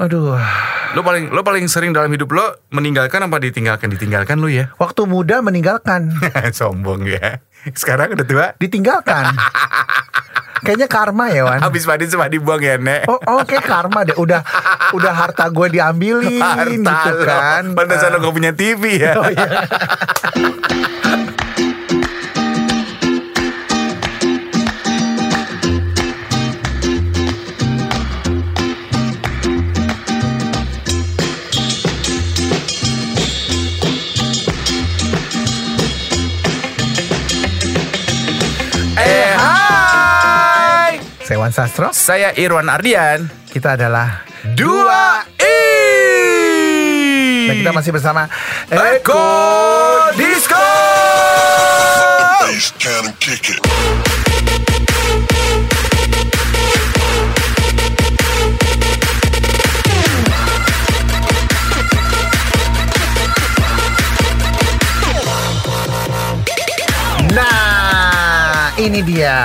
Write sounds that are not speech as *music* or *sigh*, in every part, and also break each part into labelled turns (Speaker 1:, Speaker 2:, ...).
Speaker 1: Aduh.
Speaker 2: Lo paling lo paling sering dalam hidup lo meninggalkan apa ditinggalkan? Ditinggalkan lo ya.
Speaker 1: Waktu muda meninggalkan,
Speaker 2: *laughs* Sombong ya. Sekarang udah tua.
Speaker 1: ditinggalkan. Kayaknya karma ya, Wan.
Speaker 2: Habis mandi cuma dibuang ya, Nek.
Speaker 1: Oh, oh kayak karma deh. Udah udah harta gue diambilin gitu
Speaker 2: lo.
Speaker 1: kan.
Speaker 2: Pantesan lo gak punya TV ya.
Speaker 1: Oh, iya.
Speaker 2: eh, hai.
Speaker 1: Saya Wan Sastro.
Speaker 2: Saya Irwan Ardian.
Speaker 1: Kita adalah
Speaker 2: Dua I.
Speaker 1: dan kita masih bersama eh,
Speaker 2: Eko Disco.
Speaker 3: bass, jam, and kick it.
Speaker 1: Nah, ini dia.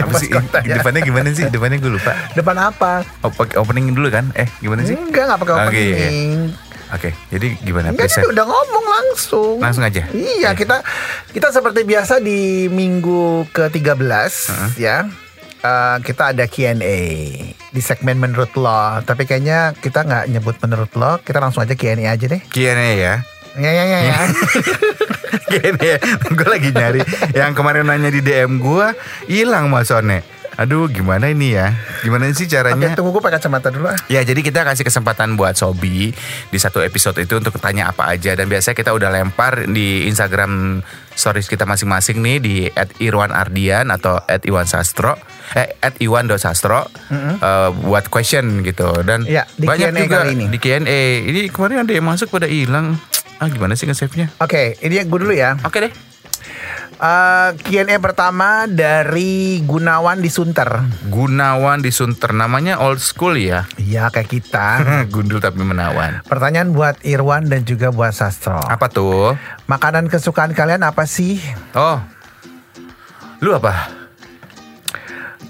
Speaker 2: Apa sih? Depannya gimana sih? Depannya gue lupa.
Speaker 1: Depan apa?
Speaker 2: Oh, pakai opening dulu kan? Eh, gimana sih?
Speaker 1: Enggak, enggak pakai
Speaker 2: Oke,
Speaker 1: opening.
Speaker 2: iya, iya. Oke, jadi gimana?
Speaker 1: Enggak,
Speaker 2: Please,
Speaker 1: dia udah ngomong langsung.
Speaker 2: Langsung aja?
Speaker 1: Iya,
Speaker 2: Oke.
Speaker 1: kita kita seperti biasa di minggu ke-13 ya. eh, kita ada Q&A di segmen menurut lo. Tapi kayaknya kita nggak nyebut menurut lo. Kita langsung aja Q&A aja deh.
Speaker 2: Q&A ya. *laughs*
Speaker 1: Ya ya ya. ya.
Speaker 2: Gini ya, gue lagi nyari yang kemarin nanya di DM gue hilang masone. Aduh, gimana ini ya? Gimana sih
Speaker 1: Oke,
Speaker 2: caranya?
Speaker 1: tunggu gue pakai kacamata dulu ah.
Speaker 2: Ya, jadi kita kasih kesempatan buat Sobi di satu episode itu untuk tanya apa aja dan biasanya kita udah lempar di Instagram stories kita masing-masing nih di @irwanardian atau @iwansastro eh @iwan.sastro eh, buat question gitu dan
Speaker 1: Ya, di
Speaker 2: banyak
Speaker 1: Q&A
Speaker 2: juga
Speaker 1: kali ini.
Speaker 2: di Q&A. Ini kemarin ada yang masuk pada hilang. Ah, gimana sih nge-save-nya?
Speaker 1: Oke, ini gue dulu ya.
Speaker 2: Oke deh.
Speaker 1: Eh, Q&A pertama dari Gunawan di Sunter.
Speaker 2: Gunawan di Sunter namanya old school ya.
Speaker 1: Iya, kayak
Speaker 2: *laughs*
Speaker 1: kita.
Speaker 2: Gundul tapi menawan.
Speaker 1: Pertanyaan buat Irwan dan juga buat Sastro.
Speaker 2: Apa tuh?
Speaker 1: Makanan kesukaan kalian apa sih?
Speaker 2: Oh. Lu apa?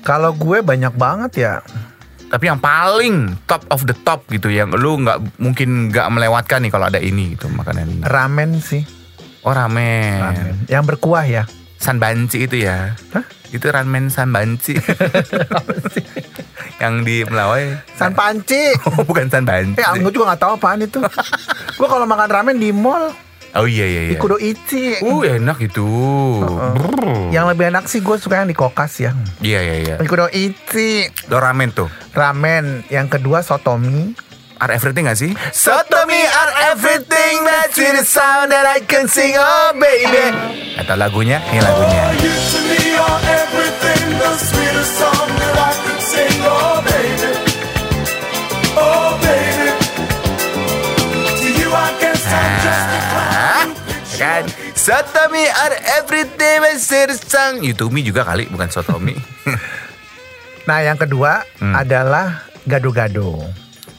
Speaker 1: Kalau gue banyak banget ya.
Speaker 2: Tapi yang paling top of the top gitu yang lu nggak mungkin nggak melewatkan nih kalau ada ini gitu makanan ini.
Speaker 1: Ramen sih.
Speaker 2: Oh ramen.
Speaker 1: Ramen. Yang berkuah ya.
Speaker 2: Sanbanci itu ya.
Speaker 1: Hah?
Speaker 2: Itu ramen *laughs* sanbanci. yang di Melawai.
Speaker 1: San
Speaker 2: *laughs*
Speaker 1: panci.
Speaker 2: Oh, bukan sanbanci.
Speaker 1: Eh, aku juga gak tahu apaan itu. gue kalau makan ramen di mall,
Speaker 2: Oh iya iya iya.
Speaker 1: di Kudo Ichi.
Speaker 2: Uh enak itu. Brrr.
Speaker 1: Yang lebih enak sih gue suka yang di Kokas ya.
Speaker 2: Iya iya iya.
Speaker 1: Di Kudo Ichi.
Speaker 2: Lo ramen tuh.
Speaker 1: Ramen. Yang kedua sotomi.
Speaker 2: are everything gak sih? So to me are everything That's the sound that I can sing Oh baby Atau lagunya Ini lagunya
Speaker 3: You to me are everything, the sweetest song that I could sing. Oh, baby. Oh, baby. To you, I guess I'm just a clown.
Speaker 2: Kan So to me are everything That's the sound You to me juga kali Bukan so to
Speaker 1: *laughs*
Speaker 2: me
Speaker 1: Nah yang kedua
Speaker 2: Hmm.
Speaker 1: adalah gado-gado.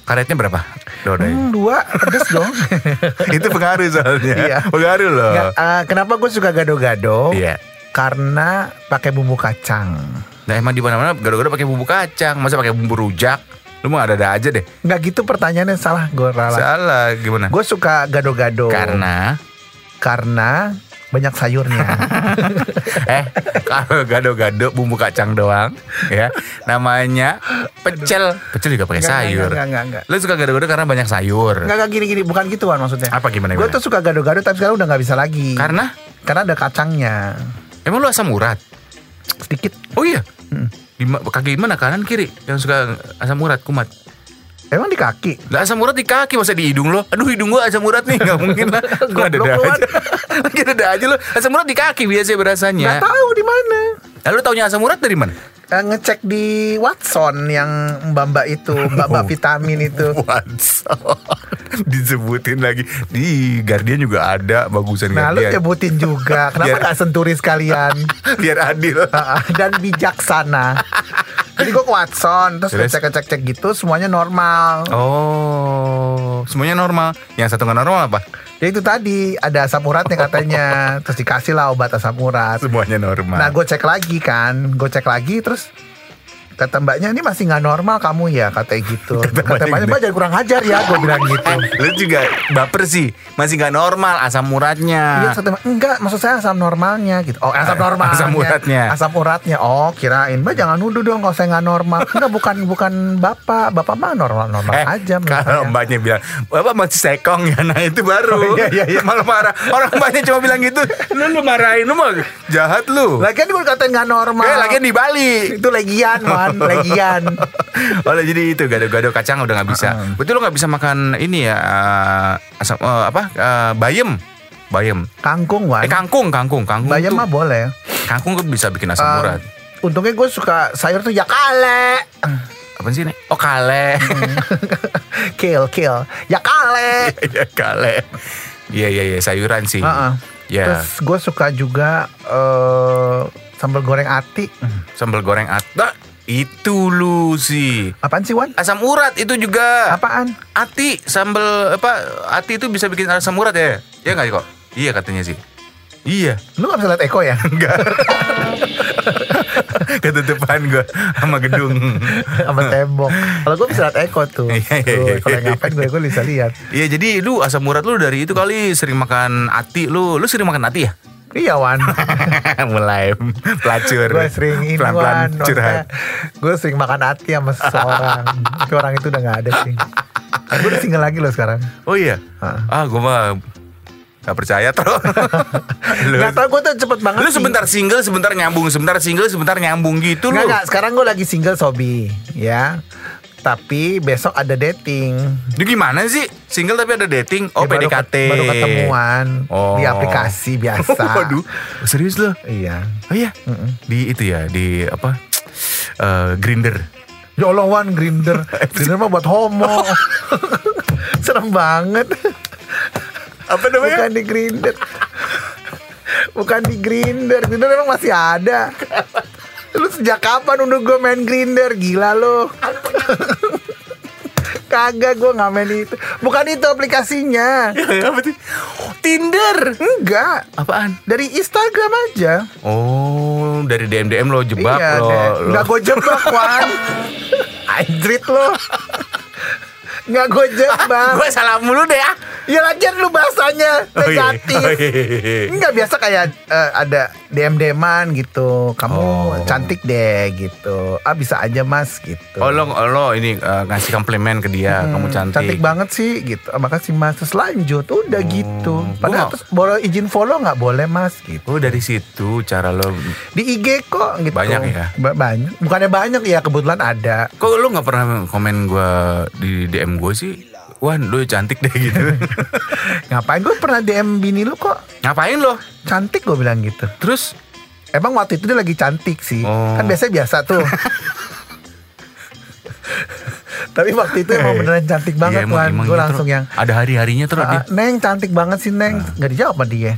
Speaker 2: Karetnya berapa? Dodanya
Speaker 1: Hmm, dua pedes dong.
Speaker 2: *laughs* Itu pengaruh soalnya
Speaker 1: Iya.
Speaker 2: Pengaruh loh
Speaker 1: Nggak, Oh. eh, kenapa gue suka gado-gado?
Speaker 2: Iya
Speaker 1: Karena pakai bumbu kacang.
Speaker 2: Nah emang di mana mana Gado-gado pakai bumbu kacang Masa pakai bumbu rujak Lu mau ada-ada aja deh
Speaker 1: Nggak gitu pertanyaannya salah gue ralat.
Speaker 2: Salah gimana?
Speaker 1: Gue suka gado-gado
Speaker 2: Karena
Speaker 1: karena banyak *laughs* sayurnya.
Speaker 2: Eh, *laughs* kalau gado-gado bumbu kacang doang, ya namanya pecel. Pecel juga pakai
Speaker 1: Nggak,
Speaker 2: sayur.
Speaker 1: nggak, nggak, nggak,
Speaker 2: Lo suka gado-gado karena banyak sayur.
Speaker 1: Nggak nggak gini-gini bukan gituan maksudnya.
Speaker 2: Apa gimana?
Speaker 1: Gue
Speaker 2: gimana?
Speaker 1: tuh suka gado-gado tapi sekarang udah nggak bisa lagi.
Speaker 2: karena
Speaker 1: Karena ada kacangnya
Speaker 2: emang lu asam urat.
Speaker 1: sedikit.
Speaker 2: Oh iya. Di ma- kaki mana kanan kiri yang suka asam urat kumat.
Speaker 1: Emang di kaki.
Speaker 2: Lah asam urat di kaki masa di hidung lo. Aduh hidung gua asam urat nih *laughs* nggak mungkin lah. Gua ada
Speaker 1: Goblok lu,
Speaker 2: aja. *laughs* Lagi ada aja lo. Asam urat di kaki biasa
Speaker 1: Nggak
Speaker 2: berasanya.
Speaker 1: tahu di mana.
Speaker 2: Lalu taunya asam urat dari *laughs* mana?
Speaker 1: Eh, ngecek di Watson yang mbak-mbak itu,
Speaker 2: Oh.
Speaker 1: mbak-mbak vitamin itu.
Speaker 2: Watson *laughs* disebutin lagi di Guardian juga ada bagusan
Speaker 1: Nah, lu
Speaker 2: Guardian
Speaker 1: nyebutin juga. Kenapa
Speaker 2: Biar-
Speaker 1: nggak senturi sekalian?
Speaker 2: *laughs* biar adil
Speaker 1: Ah, dan bijaksana. Jadi gue ke Watson, terus
Speaker 2: Terus?
Speaker 1: cek cek cek gitu, semuanya normal.
Speaker 2: oh semuanya normal yang satu nggak normal *laughs* apa
Speaker 1: Ya itu tadi ada asam uratnya katanya, terus dikasih lah obat asam urat.
Speaker 2: semuanya normal
Speaker 1: Nah, gue cek lagi kan, gue cek lagi, terus Kata mbaknya ini masih nggak normal kamu ya katanya
Speaker 2: *laughs*
Speaker 1: gitu. Kata,
Speaker 2: mbaknya
Speaker 1: mbaknya
Speaker 2: gitu.
Speaker 1: mbak jangan kurang ajar ya gue
Speaker 2: *laughs*
Speaker 1: bilang gitu.
Speaker 2: Eh, Lu juga baper sih, masih nggak normal asam
Speaker 1: Iya,
Speaker 2: uratnya.
Speaker 1: satu teman, enggak, maksud saya asam normalnya gitu. Oh,
Speaker 2: *laughs*
Speaker 1: asam normal.
Speaker 2: Asam uratnya.
Speaker 1: Asam uratnya. Oh, kirain, Mbak jangan nuduh dong kalau saya nggak normal. Enggak, bukan bukan Bapak. Bapak mah normal-normal
Speaker 2: Eh,
Speaker 1: aja menurut
Speaker 2: *laughs* kalau
Speaker 1: saya.
Speaker 2: mbaknya bilang bapak masih sekong ya, nah itu
Speaker 1: *laughs*
Speaker 2: baru
Speaker 1: Oh, iya,
Speaker 2: malah marah. Orang mbaknya cuma bilang gitu, lu lu marahin lu mah jahat lu.
Speaker 1: Lagian gue katain nggak normal.
Speaker 2: Eh, lagi di Bali. *laughs*
Speaker 1: itu legian, man, legian.
Speaker 2: Oleh jadi itu gado-gado kacang udah nggak bisa.
Speaker 1: Ah,
Speaker 2: Betul lo nggak bisa makan ini ya eh, asam eh, apa eh, bayem, bayem.
Speaker 1: Kangkung, Wan.
Speaker 2: Eh kangkung, kangkung, kangkung.
Speaker 1: Bayam
Speaker 2: tuh-
Speaker 1: mah boleh.
Speaker 2: Kangkung tuh bisa bikin asam
Speaker 1: Um,
Speaker 2: urat.
Speaker 1: untungnya gue suka sayur tuh ya kale.
Speaker 2: Apa sih nih? Oh kale.
Speaker 1: *laughs* kill, kill. Ya kale.
Speaker 2: Iya kale. Iya iya iya sayuran sih.
Speaker 1: Heeh.
Speaker 2: Ya
Speaker 1: Terus gue suka juga eh sambal goreng ati.
Speaker 2: sambal goreng atak itu lu sih.
Speaker 1: Apaan sih, Wan?
Speaker 2: Asam urat itu juga.
Speaker 1: Apaan?
Speaker 2: Ati sambal apa ati itu bisa bikin asam urat ya? Iya nggak kok? Iya katanya sih. Iya. *laughs*
Speaker 1: Lu gak bisa liat Eko ya?
Speaker 2: Enggak. Ketutupan gue sama gedung.
Speaker 1: Sama tembok Kalau gue bisa liat Eko tuh
Speaker 2: Iya, iya,
Speaker 1: Tuh,
Speaker 2: iya.
Speaker 1: Kalau yang ngapain gue, gue bisa lihat
Speaker 2: Iya jadi lu asam urat lu dari itu kali sering makan ati lu. Lu sering makan ati ya? *laughs*
Speaker 1: Iya Wan
Speaker 2: Mulai pelacur.
Speaker 1: Gue sering ini Wan
Speaker 2: Pelan-pelan curhat.
Speaker 1: Gue sering makan hati sama seseorang Tapi orang itu udah gak ada sih Gue udah single lagi loh sekarang
Speaker 2: Oh iya.
Speaker 1: Hah.
Speaker 2: Ah gue mah gak percaya
Speaker 1: *laughs*
Speaker 2: terus. lu,
Speaker 1: Gak tau gue tuh cepet banget
Speaker 2: lu
Speaker 1: sih.
Speaker 2: sebentar single sebentar nyambung sebentar single sebentar nyambung gitu lu.
Speaker 1: Nggak, nggak. Sekarang gue lagi single Sobi Ya Tapi besok ada dating
Speaker 2: Lu gimana sih? Single tapi ada dating.
Speaker 1: Ya,
Speaker 2: Oh
Speaker 1: baru
Speaker 2: PDKT.
Speaker 1: ket- Baru ah.
Speaker 2: *laughs*
Speaker 1: ketemuan
Speaker 2: Oh.
Speaker 1: Di aplikasi biasa
Speaker 2: *laughs* Waduh, serius lo?
Speaker 1: Iya
Speaker 2: Oh iya, di itu ya, di apa? Eh grinder.
Speaker 1: Ya Allah Wan Grinder Grinder mah buat homo *laughs* Serem banget
Speaker 2: Apa
Speaker 1: Bukan di Grinder Bukan di Grinder Grinder emang masih ada Lu sejak kapan udah gue main Grinder Gila lu *laughs* Kagak gue gak main itu Bukan itu aplikasinya
Speaker 2: *laughs* apa sih? Tinder.
Speaker 1: Enggak
Speaker 2: Apaan?
Speaker 1: Dari Instagram aja
Speaker 2: Oh, dari DM DM lo jebak lo.
Speaker 1: deh.
Speaker 2: lo.
Speaker 1: Iya, Nggak gue jebak
Speaker 2: *laughs*
Speaker 1: Wan Anjrit lu Nggak gue
Speaker 2: Ah,
Speaker 1: jebak
Speaker 2: Gue salah mulu deh ah.
Speaker 1: Ya lagian lu bahasanya
Speaker 2: Oh iya,
Speaker 1: negatif.
Speaker 2: oh iya.
Speaker 1: Enggak biasa kayak eh, ada DM deman gitu. Kamu
Speaker 2: Oh.
Speaker 1: cantik deh gitu. Ah bisa aja Mas gitu.
Speaker 2: Oh lo, lo ini eh, ngasih komplimen ke dia, kamu cantik. Hmm,
Speaker 1: Cantik banget sih gitu. Ah, Makasih Mas. Terus lanjut udah gitu.
Speaker 2: Gua-
Speaker 1: Padahal terus boleh izin follow nggak boleh Mas gitu.
Speaker 2: Oh dari situ cara lo.
Speaker 1: Di IG kok gitu.
Speaker 2: Banyak ya?
Speaker 1: Ba- banyak. Bukannya banyak ya kebetulan
Speaker 2: *laughs*
Speaker 1: ada.
Speaker 2: Kok lo nggak pernah komen gue di DM gue sih? Wah, lo cantik deh
Speaker 1: *laughs*
Speaker 2: gitu.
Speaker 1: Ngapain gue pernah DM bini lu kok
Speaker 2: Ngapain lo?
Speaker 1: cantik gue bilang gitu.
Speaker 2: Terus
Speaker 1: Emang waktu itu dia lagi cantik sih.
Speaker 2: Oh.
Speaker 1: Kan biasanya biasa
Speaker 2: *laughs*
Speaker 1: tuh. Tapi waktu itu emang beneran cantik banget
Speaker 2: Iya, emang-
Speaker 1: Wan.
Speaker 2: emang
Speaker 1: Gue
Speaker 2: gitu,
Speaker 1: langsung
Speaker 2: Tro.
Speaker 1: yang
Speaker 2: ada hari-harinya terus
Speaker 1: "Ah, *laughs*
Speaker 2: dia.
Speaker 1: Neng cantik banget sih Neng
Speaker 2: Ah.
Speaker 1: Gak dijawab sama dia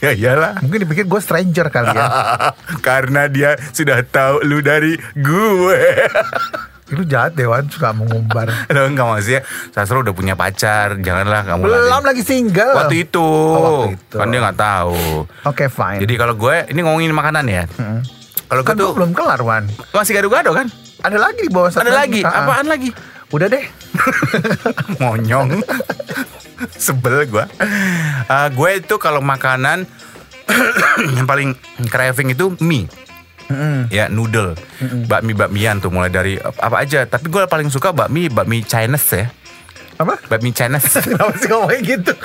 Speaker 2: Ya iyalah.
Speaker 1: Mungkin dipikir gue stranger kali
Speaker 2: Ah.
Speaker 1: ya
Speaker 2: *laughs* Karena dia sudah tahu lu dari gue.
Speaker 1: Lu jahat deh Wan Suka mengumbar
Speaker 2: *laughs* Lo enggak maksudnya Sastro udah punya pacar, janganlah kamu
Speaker 1: Belum
Speaker 2: lari.
Speaker 1: lagi single
Speaker 2: Waktu itu,
Speaker 1: Oh, waktu itu.
Speaker 2: kan dia nggak tahu.
Speaker 1: Oke fine
Speaker 2: Jadi kalau gue ini ngomongin makanan ya. Kalau gue
Speaker 1: Kan
Speaker 2: tuh
Speaker 1: gua belum kelar Wan
Speaker 2: masih gado-gado kan?
Speaker 1: Ada lagi di bawah satu
Speaker 2: Ada lagi,
Speaker 1: Ah, ah.
Speaker 2: apaan lagi?
Speaker 1: Udah deh
Speaker 2: Monyong. Sebel gue. Eh, gue itu kalau makanan *clears throat* yang paling craving itu mie. ya noodle bakmi bakmian tuh mulai dari ap- apa aja tapi gue paling suka bakmi bakmi Chinese ya
Speaker 1: Apa? *laughs*
Speaker 2: bakmi Chinese
Speaker 1: Kenapa sih ngomongnya gitu? *laughs*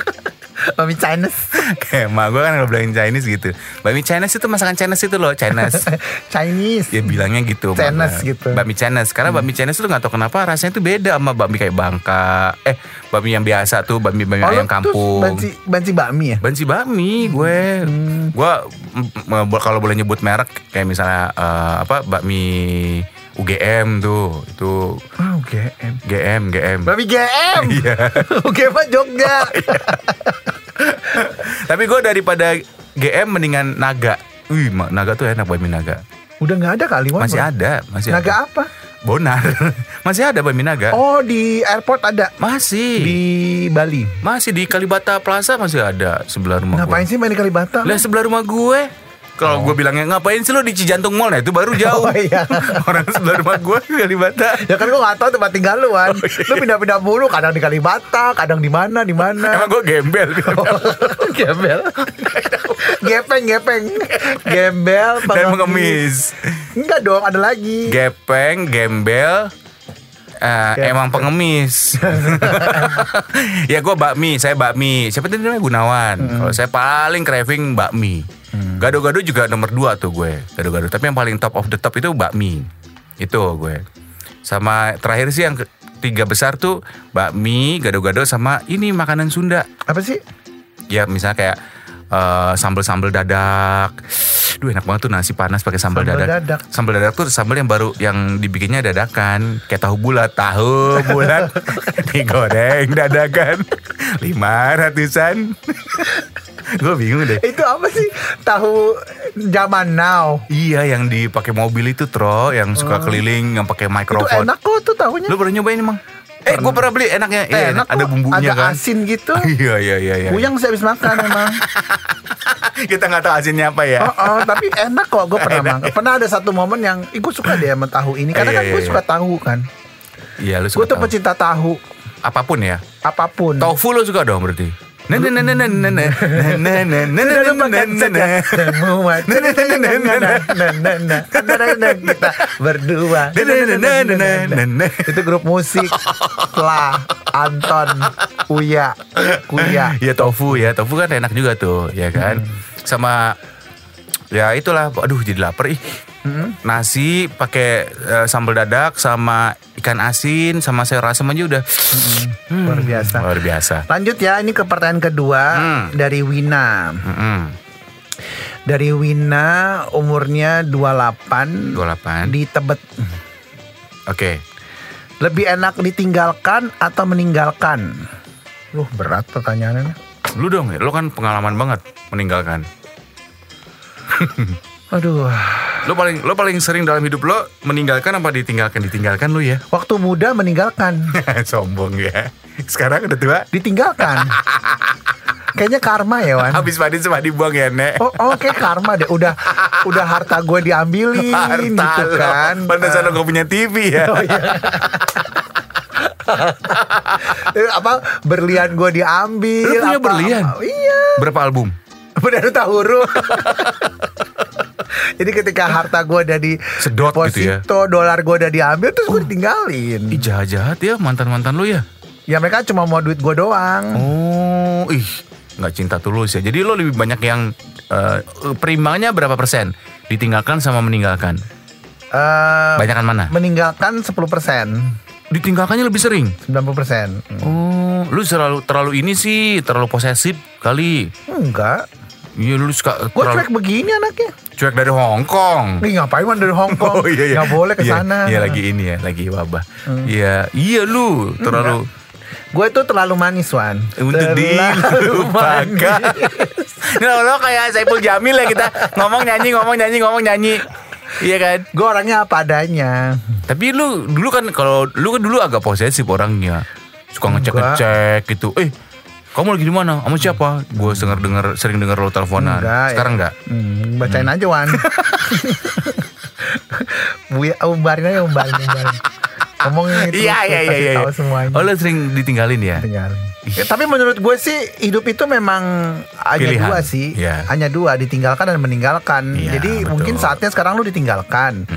Speaker 1: Mami Chinese *laughs*
Speaker 2: kayak emak gue kan kalau bilangin Chinese gitu bakmi Chinese itu masakan Chinese itu loh
Speaker 1: *laughs*
Speaker 2: Chinese
Speaker 1: Chinese
Speaker 2: dia bilangnya gitu emak
Speaker 1: Chinese
Speaker 2: gua.
Speaker 1: gitu.
Speaker 2: bakmi Chinese karena bakmi Chinese tuh nggak tau kenapa rasanya tuh beda sama bakmi kayak Bangka eh bakmi yang biasa tuh bakmi bakmi
Speaker 1: Oh, lu
Speaker 2: ayam
Speaker 1: tuh
Speaker 2: kampung
Speaker 1: banci, banci bakmi ya?
Speaker 2: Banci bakmi gue.
Speaker 1: Hmm.
Speaker 2: Gue m- m- kalau boleh nyebut merek kayak misalnya eh, apa bakmi UGM tuh. Itu Ah,
Speaker 1: Oh, GM.
Speaker 2: GM GM.
Speaker 1: Babi GM.
Speaker 2: *laughs*
Speaker 1: *laughs*
Speaker 2: Iya. Oh,
Speaker 1: Oke, Pak Jogja.
Speaker 2: Tapi gue daripada GM mendingan naga. Wih, ma- naga tuh enak bakmi naga.
Speaker 1: *laughs* Udah nggak ada kali, Wan.
Speaker 2: Masih ada, masih
Speaker 1: Oh, Naga
Speaker 2: ada.
Speaker 1: apa?
Speaker 2: Bonar. *laughs* masih ada bakmi naga.
Speaker 1: Oh, di airport ada.
Speaker 2: Masih.
Speaker 1: Di Bali.
Speaker 2: Masih di Kalibata Plaza masih ada sebelah rumah
Speaker 1: Ngapain
Speaker 2: gue.
Speaker 1: sih main di Kalibata?
Speaker 2: Lah sebelah rumah gue. Kalau gue bilangnya ngapain sih lo di Cijantung Mall nah itu baru jauh.
Speaker 1: Oh,
Speaker 2: *laughs*
Speaker 1: iya.
Speaker 2: Orang sebelah rumah gue di Kalibata.
Speaker 1: Ya kan gue gak tau tempat tinggal lu
Speaker 2: Oh,
Speaker 1: kan Lu
Speaker 2: iya.
Speaker 1: pindah-pindah mulu Kadang di Kalibata Kadang di mana di mana
Speaker 2: *laughs* Emang gue gembel.
Speaker 1: Oh, Gembel *laughs* Gepeng gepeng Gembel
Speaker 2: Dan
Speaker 1: pengemis.
Speaker 2: mengemis.
Speaker 1: Enggak dong ada lagi
Speaker 2: Gepeng, gembel, eh, emang pengemis. ya gue bakmi, saya bakmi. Siapa tadi namanya Gunawan. Kalau saya paling craving bakmi. Gado-gado juga nomor dua tuh gue. Gado-gado. Tapi yang paling top of the top itu bakmi. Itu gue. Sama terakhir sih yang ke- tiga besar tuh bakmi, gado-gado sama ini makanan Sunda.
Speaker 1: Apa sih?
Speaker 2: Ya misalnya kayak eh, sambal-sambal dadak. Duh enak banget tuh nasi panas pakai sambal
Speaker 1: Sambal
Speaker 2: dadak.
Speaker 1: dadak.
Speaker 2: Sambal dadak tuh sambal yang baru yang dibikinnya dadakan. Kayak tahu bulat, tahu
Speaker 1: *laughs*
Speaker 2: bulat digoreng dadakan. Lima ratusan. Gue bingung deh.
Speaker 1: Itu apa sih? Tahu zaman now
Speaker 2: Iya yang dipakai mobil itu Tro yang suka keliling yang pakai
Speaker 1: Oh. Itu
Speaker 2: mikrofon.
Speaker 1: enak kok tuh tahunya
Speaker 2: Lu pernah nyobain emang? Eh, gue pernah beli enaknya. Iya,
Speaker 1: Enak
Speaker 2: ada
Speaker 1: kok.
Speaker 2: bumbunya
Speaker 1: Agak
Speaker 2: kan.
Speaker 1: asin gitu
Speaker 2: *laughs* Iya iya iya iya.
Speaker 1: Puyang sih habis makan
Speaker 2: *laughs*
Speaker 1: emang
Speaker 2: Kita nggak tahu asinnya apa ya.
Speaker 1: Oh, oh, tapi enak kok gue pernah makan. Pernah ada satu momen yang Ih gue suka deh sama tahu ini Karena
Speaker 2: Iya,
Speaker 1: kan gue
Speaker 2: iya,
Speaker 1: suka
Speaker 2: iya.
Speaker 1: tahu kan
Speaker 2: Iya lu
Speaker 1: Gue
Speaker 2: suka
Speaker 1: tuh
Speaker 2: tahu.
Speaker 1: pecinta tahu
Speaker 2: apapun ya.
Speaker 1: Apapun
Speaker 2: Tofu lo suka dong berarti. Nah, nah, nah, nah, nah, nah, nah, nah, nah, nah, nah,
Speaker 1: Sudah
Speaker 2: nah,
Speaker 1: lupakan
Speaker 2: nah,
Speaker 1: saja
Speaker 2: nah.
Speaker 1: semua. Kan Kita berdua. Itu grup musik. Lah, Anton, Uya, Kuya.
Speaker 2: Ya tofu ya, tofu kan enak juga tuh, ya kan. Sama ya itulah, aduh jadi lapar ih. Hmm. Nasi pakai eh, sambal dadak sama ikan asin sama sayur asam aja udah Hmm.
Speaker 1: Luar biasa.
Speaker 2: luar biasa.
Speaker 1: Lanjut ya, ini ke pertanyaan kedua
Speaker 2: Hmm.
Speaker 1: dari Wina.
Speaker 2: Mm-mm.
Speaker 1: Dari Wina umurnya 28
Speaker 2: 28.
Speaker 1: di Tebet.
Speaker 2: Oke.
Speaker 1: Lebih enak ditinggalkan atau meninggalkan? Loh, berat pertanyaannya.
Speaker 2: Lu dong, lu kan pengalaman banget meninggalkan.
Speaker 1: Aduh.
Speaker 2: Lo paling lo paling sering dalam hidup lo meninggalkan apa ditinggalkan? Ditinggalkan lu ya. *laughs*
Speaker 1: Waktu muda meninggalkan.
Speaker 2: Sombong ya. Sekarang udah tua.
Speaker 1: ditinggalkan. Kayaknya karma ya Wan.
Speaker 2: *laughs* Habis mandi sama dibuang ya, Nek. *laughs*
Speaker 1: Oh, oh kayak karma deh. Udah udah harta gue diambilin gitu
Speaker 2: lo.
Speaker 1: kan.
Speaker 2: Pantesan lo gak punya TV *laughs* ya.
Speaker 1: Eh, apa berlian gue diambil?
Speaker 2: Lu punya
Speaker 1: apa-
Speaker 2: berlian?
Speaker 1: apa- iya.
Speaker 2: Berapa album?
Speaker 1: Benar tak huruf. *laughs* Jadi ketika harta gue udah di
Speaker 2: Sedot gitu ya. Oh.
Speaker 1: deposito, dolar gue udah diambil terus gue ditinggalin.
Speaker 2: Ih jahat-jahat ya mantan-mantan lu ya.
Speaker 1: Ya mereka cuma mau duit gue doang.
Speaker 2: Oh, ih nggak cinta tulus ya. Jadi lo lebih banyak yang eh, perimbangannya berapa persen? Ditinggalkan sama meninggalkan.
Speaker 1: Eh,
Speaker 2: Banyakan mana?
Speaker 1: meninggalkan 10%,
Speaker 2: Ditinggalkannya lebih sering.
Speaker 1: 90%.
Speaker 2: Oh, lu selalu terlalu ini sih, terlalu posesif kali.
Speaker 1: Enggak.
Speaker 2: Iya lu suka
Speaker 1: Gue
Speaker 2: terlalu-
Speaker 1: cuek begini anaknya.
Speaker 2: cuek dari Hong Kong.
Speaker 1: Nih ngapain man dari Hong
Speaker 2: *laughs*
Speaker 1: Kong? Nggak boleh ke
Speaker 2: Iya,
Speaker 1: sana.
Speaker 2: Iya, lagi ini ya, lagi wabah. Iya, iya lu terlalu
Speaker 1: Gue tuh terlalu manis, Wan.
Speaker 2: untuk dilupakan. Ini lo kayak Saiful Jamil ya kita ngomong nyanyi ngomong nyanyi ngomong nyanyi. Iya kan?
Speaker 1: Gue orangnya apa adanya.
Speaker 2: Tapi lu dulu kan kalau lu kan dulu agak posesif orangnya. Suka ngecek-ngecek gitu. Eh, kamu lagi di mana? Kamu siapa? Gue denger dengar sering dengar lo teleponan.
Speaker 1: Enggak,
Speaker 2: Sekarang
Speaker 1: ya.
Speaker 2: enggak.
Speaker 1: Hmm, bacain aja,
Speaker 2: *laughs*
Speaker 1: Wan. ya, Buya, umbarin aja, umbarin, umbarin. Ngomongin itu.
Speaker 2: Iya iya iya iya.
Speaker 1: Tahu semuanya.
Speaker 2: Oh, lu sering ditinggalin ya?
Speaker 1: Tinggalin. Ya, tapi menurut gue sih hidup itu memang hanya
Speaker 2: Pilihan.
Speaker 1: dua sih,
Speaker 2: Iya.
Speaker 1: hanya dua ditinggalkan dan meninggalkan.
Speaker 2: Iya,
Speaker 1: Jadi
Speaker 2: betul.
Speaker 1: mungkin saatnya sekarang lu ditinggalkan,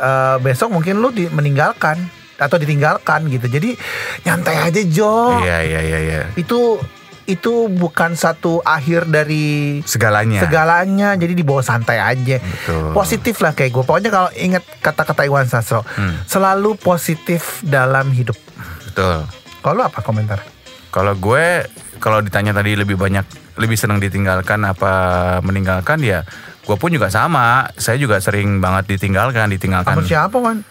Speaker 1: Eh, besok mungkin lu di, meninggalkan atau ditinggalkan gitu. Jadi nyantai aja Jo,
Speaker 2: Iya iya iya iya.
Speaker 1: itu itu bukan satu akhir dari
Speaker 2: Iya. Segalanya.
Speaker 1: segalanya. Jadi dibawa santai aja,
Speaker 2: Betul.
Speaker 1: positif lah kayak gue. Pokoknya kalau inget kata-kata Iwan Sastro,
Speaker 2: Hmm.
Speaker 1: selalu positif dalam hidup.
Speaker 2: Betul.
Speaker 1: Kalau lu apa komentar?
Speaker 2: Kalau gue kalau ditanya tadi lebih banyak lebih senang ditinggalkan apa meninggalkan ya gue pun juga sama. Saya juga sering banget ditinggalkan, ditinggalkan.
Speaker 1: Sama siapa Wan?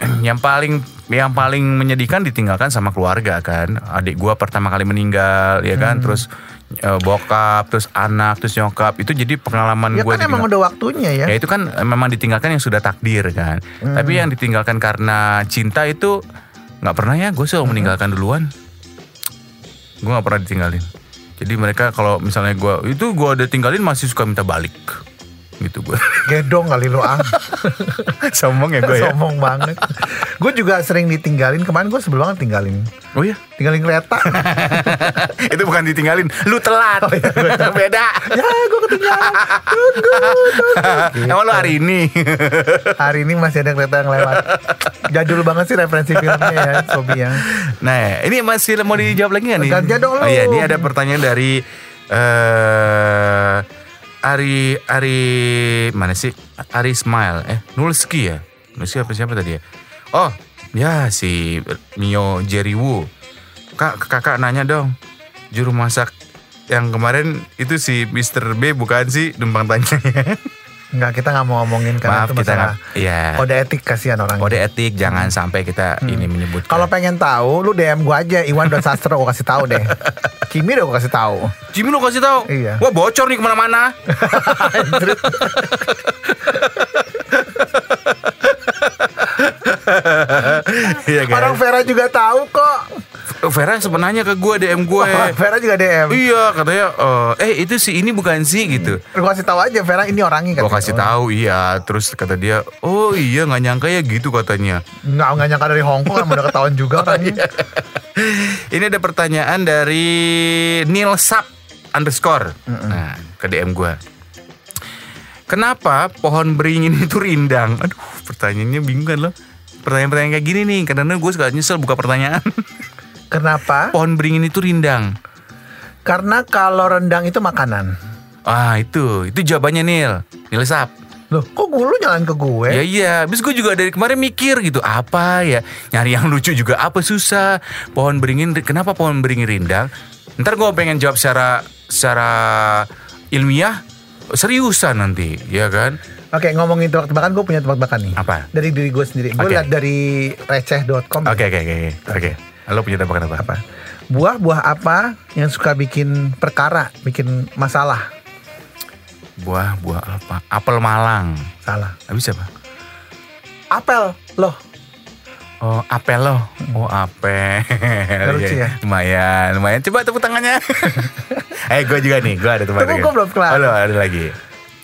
Speaker 2: *clears throat* Yang paling yang paling menyedihkan ditinggalkan sama keluarga kan. Adik gue pertama kali meninggal ya
Speaker 1: Hmm.
Speaker 2: kan, terus eh, bokap, terus anak, terus nyokap. Itu jadi pengalaman
Speaker 1: Ya
Speaker 2: gue
Speaker 1: kan emang udah waktunya ya.
Speaker 2: Ya itu kan memang ditinggalkan yang sudah takdir kan. Tapi yang ditinggalkan karena cinta itu nggak pernah ya. Gue selalu meninggalkan duluan. Gue nggak pernah ditinggalin. Jadi mereka kalau misalnya gue itu gue udah tinggalin masih suka minta balik. gitu gue
Speaker 1: Gedong kali lu ang
Speaker 2: *laughs* sombong ya gue ya
Speaker 1: Sombong banget Gue juga sering ditinggalin Kemarin gue sebelumnya tinggalin
Speaker 2: oh *laughs* iya
Speaker 1: Tinggalin kereta *laughs*
Speaker 2: itu bukan ditinggalin lu telat *laughs* beda
Speaker 1: Ya gue ketinggalan
Speaker 2: emang lu hari ini
Speaker 1: Hari ini masih ada kereta yang lewat Jadul banget sih referensi filmnya ya Sobi ya
Speaker 2: Nah, ini masih mau dijawab lagi nggak nih?
Speaker 1: Gantian dong lu.
Speaker 2: Oh iya, ini ada pertanyaan dari eh Ari Ari mana sih? Ari Smile eh Nulski ya? Nulski apa siapa tadi ya? Oh, ya si Mio Jerry Wu. Kak, kakak nanya dong. Juru masak yang kemarin itu si Mr. B bukan sih numpang tanya ya.
Speaker 1: Enggak kita nggak mau ngomongin Karena
Speaker 2: Maaf,
Speaker 1: itu
Speaker 2: kita
Speaker 1: masalah
Speaker 2: nggak- iya.
Speaker 1: Kode etik kasihan orang
Speaker 2: Kode etik ya. jangan sampai kita ini menyebut
Speaker 1: Kalau pengen tahu, lu DM gue aja Iwan Don Sastro gue kasih tahu deh. Kimi udah gue kasih tahu.
Speaker 2: Jimmy lu kasih tahu.
Speaker 1: Iya.
Speaker 2: Wah bocor nih kemana-mana. Iya
Speaker 1: Orang
Speaker 2: kan.
Speaker 1: Vera juga tahu kok.
Speaker 2: Vera sebenarnya ke gue DM gue.
Speaker 1: Orang Vera juga DM.
Speaker 2: iya katanya eh itu si ini bukan sih gitu.
Speaker 1: Gue kasih tahu aja Vera ini orangnya
Speaker 2: Gue kasih tahu iya terus kata dia oh iya nggak nyangka ya gitu katanya.
Speaker 1: Nggak nggak nyangka dari Hong Kong, emang udah ketahuan
Speaker 2: *laughs*
Speaker 1: juga
Speaker 2: Oh,
Speaker 1: kan.
Speaker 2: iya.
Speaker 1: orangnya.
Speaker 2: Ini ada pertanyaan dari Neil Sap underscore. Nah, ke DM gue. Kenapa pohon beringin itu rindang? Aduh, pertanyaannya bingung kan lo. Pertanyaan-pertanyaan kayak gini nih, kadang-kadang gue suka nyesel buka pertanyaan. *laughs*
Speaker 1: Kenapa?
Speaker 2: pohon beringin itu rindang.
Speaker 1: Karena kalau rendang itu makanan.
Speaker 2: Ah, itu. Itu jawabannya Neil. Neil Sap.
Speaker 1: Loh, kok gue lu jalan ke gue?
Speaker 2: Ya iya, habis gue juga dari kemarin mikir gitu, apa ya? Nyari yang lucu juga apa susah? Pohon beringin kenapa pohon beringin rindang? Ntar gue pengen jawab secara secara ilmiah seriusan nanti, ya kan?
Speaker 1: Oke, ngomongin tebak-tebakan, gue punya tebak-tebakan nih.
Speaker 2: Apa?
Speaker 1: Dari diri gue sendiri. Gue
Speaker 2: Oke.
Speaker 1: lihat dari receh.com.
Speaker 2: Oke oke oke oke. oke. Lo punya tembakan apa?
Speaker 1: Apa? Buah-buah apa yang suka bikin perkara, bikin masalah?
Speaker 2: Buah buah apa? Apel Malang.
Speaker 1: Salah.
Speaker 2: Habis apa?
Speaker 1: Apel, loh.
Speaker 2: Oh, apel loh. Oh, *laughs* apel. Iya,
Speaker 1: lucu ya?
Speaker 2: Lumayan, lumayan. Coba tepuk tangannya. *laughs* Eh, gue juga nih. Gue ada tempat.
Speaker 1: Tunggu, gua belum kelar.
Speaker 2: Oh, lo ada lagi.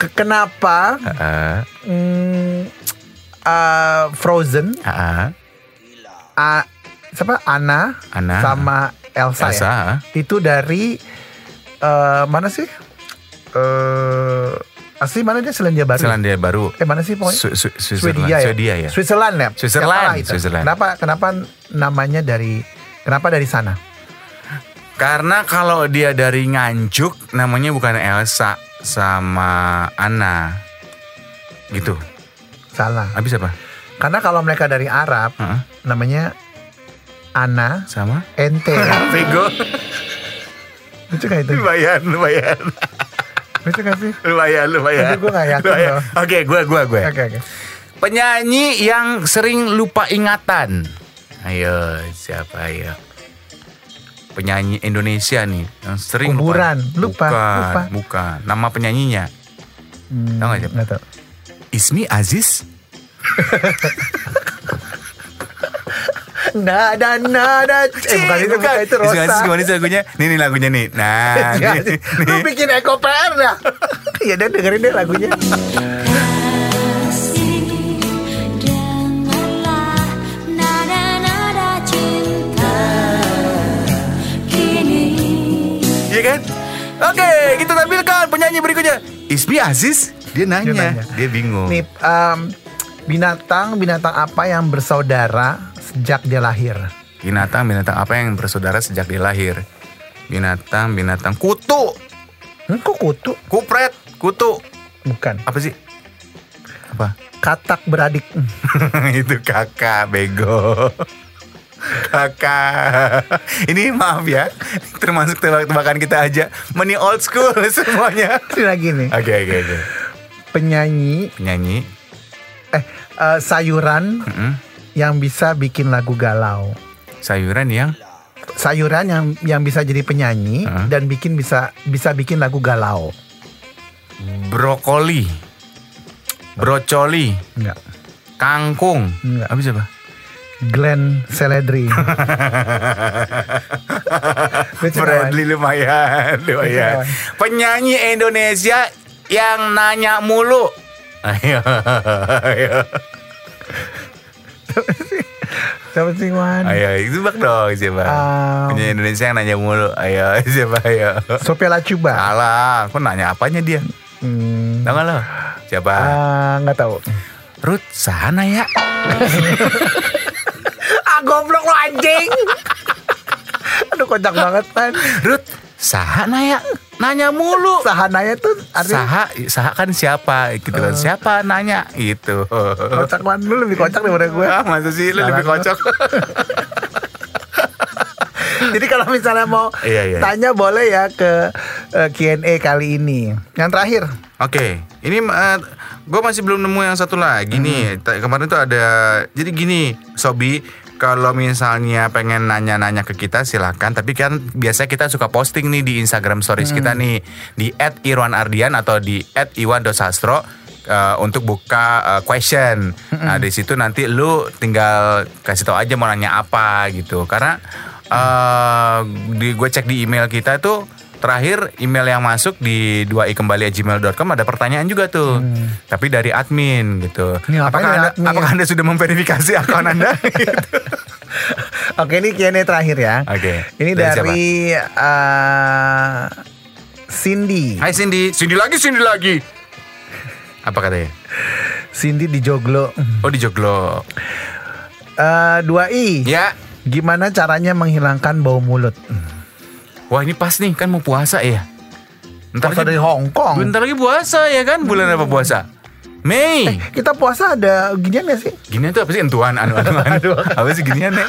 Speaker 1: Ke- Kenapa
Speaker 2: Heeh.
Speaker 1: Hmm, ah, Frozen,
Speaker 2: Heeh.
Speaker 1: ah, siapa Anna,
Speaker 2: Anna.
Speaker 1: sama Elsa, ya?
Speaker 2: Elsa, ah.
Speaker 1: Itu dari eh, mana sih? Eh, asli mana dia Selandia Baru?
Speaker 2: Selandia Baru.
Speaker 1: Eh mana sih pokoknya?
Speaker 2: Su- su- Switzerland.
Speaker 1: Swedia ya.
Speaker 2: Swedia ya.
Speaker 1: Switzerland ya.
Speaker 2: Switzerland,
Speaker 1: Siapa lah itu?
Speaker 2: Switzerland.
Speaker 1: Kenapa kenapa namanya dari kenapa dari sana?
Speaker 2: Karena kalau dia dari Nganjuk namanya bukan Elsa sama Anna. Gitu.
Speaker 1: Salah.
Speaker 2: Habis apa?
Speaker 1: Karena kalau mereka dari Arab
Speaker 2: Heeh.
Speaker 1: namanya Ana
Speaker 2: Sama?
Speaker 1: Ente.
Speaker 2: Bego.
Speaker 1: Lucu gak itu?
Speaker 2: *laughs* lumayan, lumayan.
Speaker 1: Lucu gak sih?
Speaker 2: Lumayan, lumayan.
Speaker 1: Tapi gua nggak yakin
Speaker 2: Lumayan.
Speaker 1: loh.
Speaker 2: Oke, gua gua gua.
Speaker 1: Oke oke.
Speaker 2: Penyanyi yang sering lupa ingatan. Ayo, siapa ya? Penyanyi Indonesia nih yang sering
Speaker 1: Kuburan. Lupa,
Speaker 2: lupa. bukan,
Speaker 1: lupa.
Speaker 2: bukan. Nama penyanyinya
Speaker 1: Hmm,
Speaker 2: Tahu nggak, Jep?
Speaker 1: nggak tahu.
Speaker 2: Ismi Aziz.
Speaker 1: Nada nada Eh bukan itu bukan itu
Speaker 2: Ismi Aziz
Speaker 1: Rosa
Speaker 2: gimana sih lagunya? Nih nih lagunya nih.
Speaker 1: *laughs*
Speaker 2: Nah,
Speaker 1: Ya,
Speaker 2: nih,
Speaker 1: Lu
Speaker 2: nih.
Speaker 1: bikin Eko PR dah Ya dan dengerin deh lagunya
Speaker 4: Kasih dengarlah nada-nada cinta kini.
Speaker 2: Iya kan? Oke, kita tampilkan penyanyi berikutnya. Ismi Aziz. Dia nanya, dia,
Speaker 1: nanya.
Speaker 2: bingung.
Speaker 1: Iya. Nih em, binatang binatang apa yang bersaudara sejak dia lahir?
Speaker 2: Binatang binatang apa yang bersaudara sejak dia lahir? Binatang binatang kutu,
Speaker 1: Hmm, kok kutu?
Speaker 2: kupret, kutu.
Speaker 1: Bukan.
Speaker 2: Apa sih? Apa? *laughs*
Speaker 1: Katak beradik. Hmm.
Speaker 2: itu kakak bego kakak ini maaf ya termasuk tebak-tebakan kita aja meni old school *laughs* semuanya
Speaker 1: Ini lagi nih.
Speaker 2: oke oke oke
Speaker 1: Penyanyi
Speaker 2: penyanyi
Speaker 1: eh eh, sayuran
Speaker 2: Mm-mm.
Speaker 1: yang bisa bikin lagu galau.
Speaker 2: sayuran yang
Speaker 1: Sayuran yang yang bisa jadi penyanyi
Speaker 2: Hah?
Speaker 1: dan bikin bisa bisa bikin lagu galau.
Speaker 2: brokoli brocoli
Speaker 1: Enggak.
Speaker 2: kangkung
Speaker 1: Enggak.
Speaker 2: habis apa
Speaker 1: Glenn
Speaker 2: *laughs*
Speaker 1: Seledri. Lucu kan?
Speaker 2: Bradley lumayan lumayan penyanyi Indonesia yang nanya mulu. Ayo, *laughs* ayo,
Speaker 1: Siapa sih Wan?
Speaker 2: ayo, siapa dong siapa?
Speaker 1: Um.
Speaker 2: Penyanyi Indonesia yang nanya mulu. Ayo, *laughs* siapa? Ayo.
Speaker 1: Sophia Lachuba.
Speaker 2: Salah, aku nanya apanya dia?
Speaker 1: Hmm,
Speaker 2: Tahu nggak lo? Siapa?
Speaker 1: ah, nggak tahu.
Speaker 2: Ruth sana ya.
Speaker 1: Ah goblok lo anjing. Aduh kocak banget kan.
Speaker 2: Ruth sana ya. Nanya mulu.
Speaker 1: Sahanaya tuh artinya
Speaker 2: Saha, saha kan siapa gitu kan? Siapa nanya gitu.
Speaker 1: kocak Wan. Lu lebih kocak daripada
Speaker 2: *laughs*
Speaker 1: gue.
Speaker 2: Ah, *laughs* masa sih lu
Speaker 1: Salah
Speaker 2: lebih
Speaker 1: lu.
Speaker 2: kocok.
Speaker 1: Jadi kalau misalnya mau
Speaker 2: Iya, iya.
Speaker 1: tanya boleh ya ke eh, Q&A kali ini. Yang
Speaker 2: *laughs*
Speaker 1: terakhir.
Speaker 2: Oke, ini gue masih belum nemu yang satu lagi nih. Ta- Kemarin tuh ada, jadi gini, Sobi, kalau misalnya pengen nanya-nanya ke kita silahkan. Tapi kan biasanya kita suka posting nih di Instagram Stories kita nih di @irwanardian atau di @iwan.sastro eh, untuk buka eh, question. Nah di situ nanti lu tinggal kasih tau aja mau nanya apa gitu. Karena eh, di gue cek di email kita tuh Terakhir email yang masuk di 2i kembali gmail.com ada pertanyaan juga tuh. Tapi dari admin gitu.
Speaker 1: Ini ngapain Hmm.
Speaker 2: apakah
Speaker 1: Iya, dari
Speaker 2: anda,
Speaker 1: admin?
Speaker 2: apakah Anda sudah memverifikasi akun
Speaker 1: *laughs*
Speaker 2: Anda? Gitu.
Speaker 1: Oke ini Q&A terakhir ya.
Speaker 2: Oke.
Speaker 1: Ini
Speaker 2: Dari
Speaker 1: dari, eh, Cindy.
Speaker 2: Hai Cindy, Cindy lagi, Cindy lagi. Apa katanya?
Speaker 1: Cindy di Joglo.
Speaker 2: Oh di Joglo.
Speaker 1: Eh, 2i.
Speaker 2: Ya.
Speaker 1: Gimana caranya menghilangkan bau mulut?
Speaker 2: Wah ini pas nih kan mau puasa ya. Ntar
Speaker 1: Puasa
Speaker 2: lagi,
Speaker 1: dari Hong Kong.
Speaker 2: bentar lagi puasa ya kan? Bulan apa puasa? Mei.
Speaker 1: Kita puasa ada ginian gak sih?
Speaker 2: Ginian tuh apa sih entuan anu anu anu. apa sih ginian ya?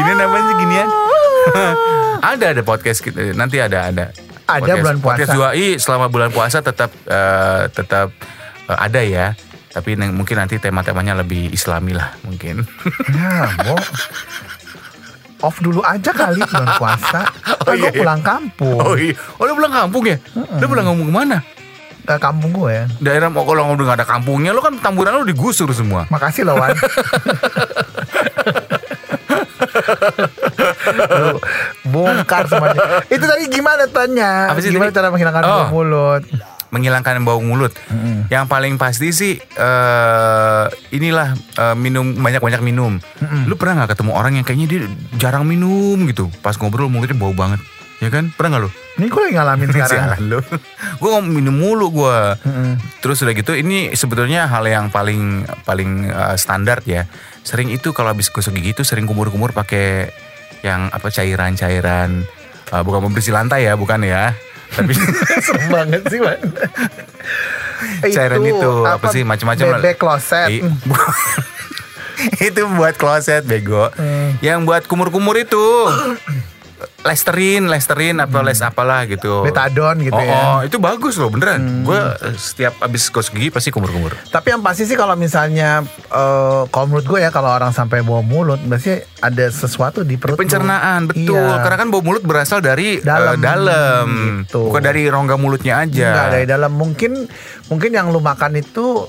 Speaker 2: ginian apa sih
Speaker 1: *laughs*
Speaker 2: ginian? ada ada podcast kita nanti ada ada.
Speaker 1: Ada bulan puasa.
Speaker 2: Podcast 2i selama bulan puasa tetap eh, tetap eh, ada ya. Tapi neng- mungkin nanti tema-temanya lebih islami lah mungkin.
Speaker 1: Ya, Bo. Off dulu aja kali bulan puasa. Kan
Speaker 2: *laughs* Oh,
Speaker 1: gue
Speaker 2: iya, iya.
Speaker 1: pulang kampung.
Speaker 2: *laughs* Oh iya, oh lu pulang kampung ya? Lu pulang kampung kemana? iya.
Speaker 1: Ke kampung ya. gue.
Speaker 2: Daerah mau kalau udah gak ada kampungnya, lu kan tamburan lu digusur semua.
Speaker 1: Makasih loh Wan.
Speaker 2: *laughs*
Speaker 1: Lu bongkar semuanya. Itu tadi gimana tanya?
Speaker 2: Apa sih
Speaker 1: gimana
Speaker 2: tadi?
Speaker 1: cara menghilangkan
Speaker 2: Oh.
Speaker 1: bau mulut?
Speaker 2: menghilangkan bau mulut. Yang paling pasti sih eh inilah eh, minum banyak-banyak minum. Lu pernah nggak ketemu orang yang kayaknya dia jarang minum gitu? Pas ngobrol mulutnya bau banget. Ya kan? Pernah nggak lu?
Speaker 1: Ini gue lagi ngalamin sekarang.
Speaker 2: Sialan lu. *laughs* gue ngom- minum mulu gue. Terus udah gitu ini sebetulnya hal yang paling paling eh, standar ya. Sering itu kalau habis gosok gigi itu sering kumur-kumur pakai yang apa cairan-cairan eh, bukan membersih lantai ya, bukan ya. Tapi
Speaker 1: Serem banget sih Wan.
Speaker 2: cairan itu apa, sih macam-macam lah.
Speaker 1: Bebek kloset.
Speaker 2: I- *laughs* itu buat kloset bego
Speaker 1: Hmm.
Speaker 2: yang buat kumur-kumur itu Lesterin, Lesterin apa les apalah gitu.
Speaker 1: Betadon Hmm. gitu
Speaker 2: oh,
Speaker 1: ya. Hmm.
Speaker 2: oh, itu bagus loh beneran. Gue setiap abis gosok gigi pasti kumur-kumur.
Speaker 1: Tapi yang pasti sih kalau misalnya eh, kalau menurut gue ya kalau orang sampai bau mulut pasti ada sesuatu di perut. lu.
Speaker 2: Pencernaan betul.
Speaker 1: Iya.
Speaker 2: Karena kan bau mulut berasal dari
Speaker 1: Dalam,
Speaker 2: eh, dalam.
Speaker 1: gitu.
Speaker 2: bukan dari rongga mulutnya aja.
Speaker 1: Enggak dari dalam mungkin mungkin yang lu makan itu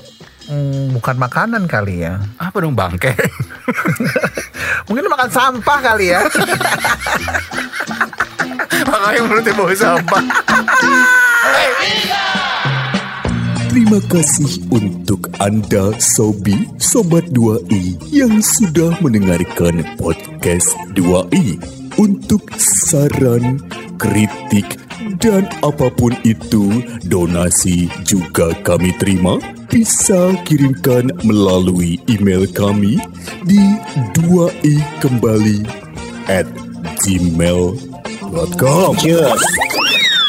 Speaker 1: mm, bukan makanan kali ya.
Speaker 2: Apa dong
Speaker 1: *laughs*
Speaker 2: bangke?
Speaker 1: Mungkin lu makan sampah kali ya. *laughs*
Speaker 2: Makanya mulutnya bau sampah.
Speaker 5: Terima kasih untuk Anda Sobi Sobat 2i yang sudah mendengarkan podcast 2i. Untuk saran, kritik, dan apapun itu, donasi juga kami terima. Bisa kirimkan melalui email kami di 2i kembali at gmail.com.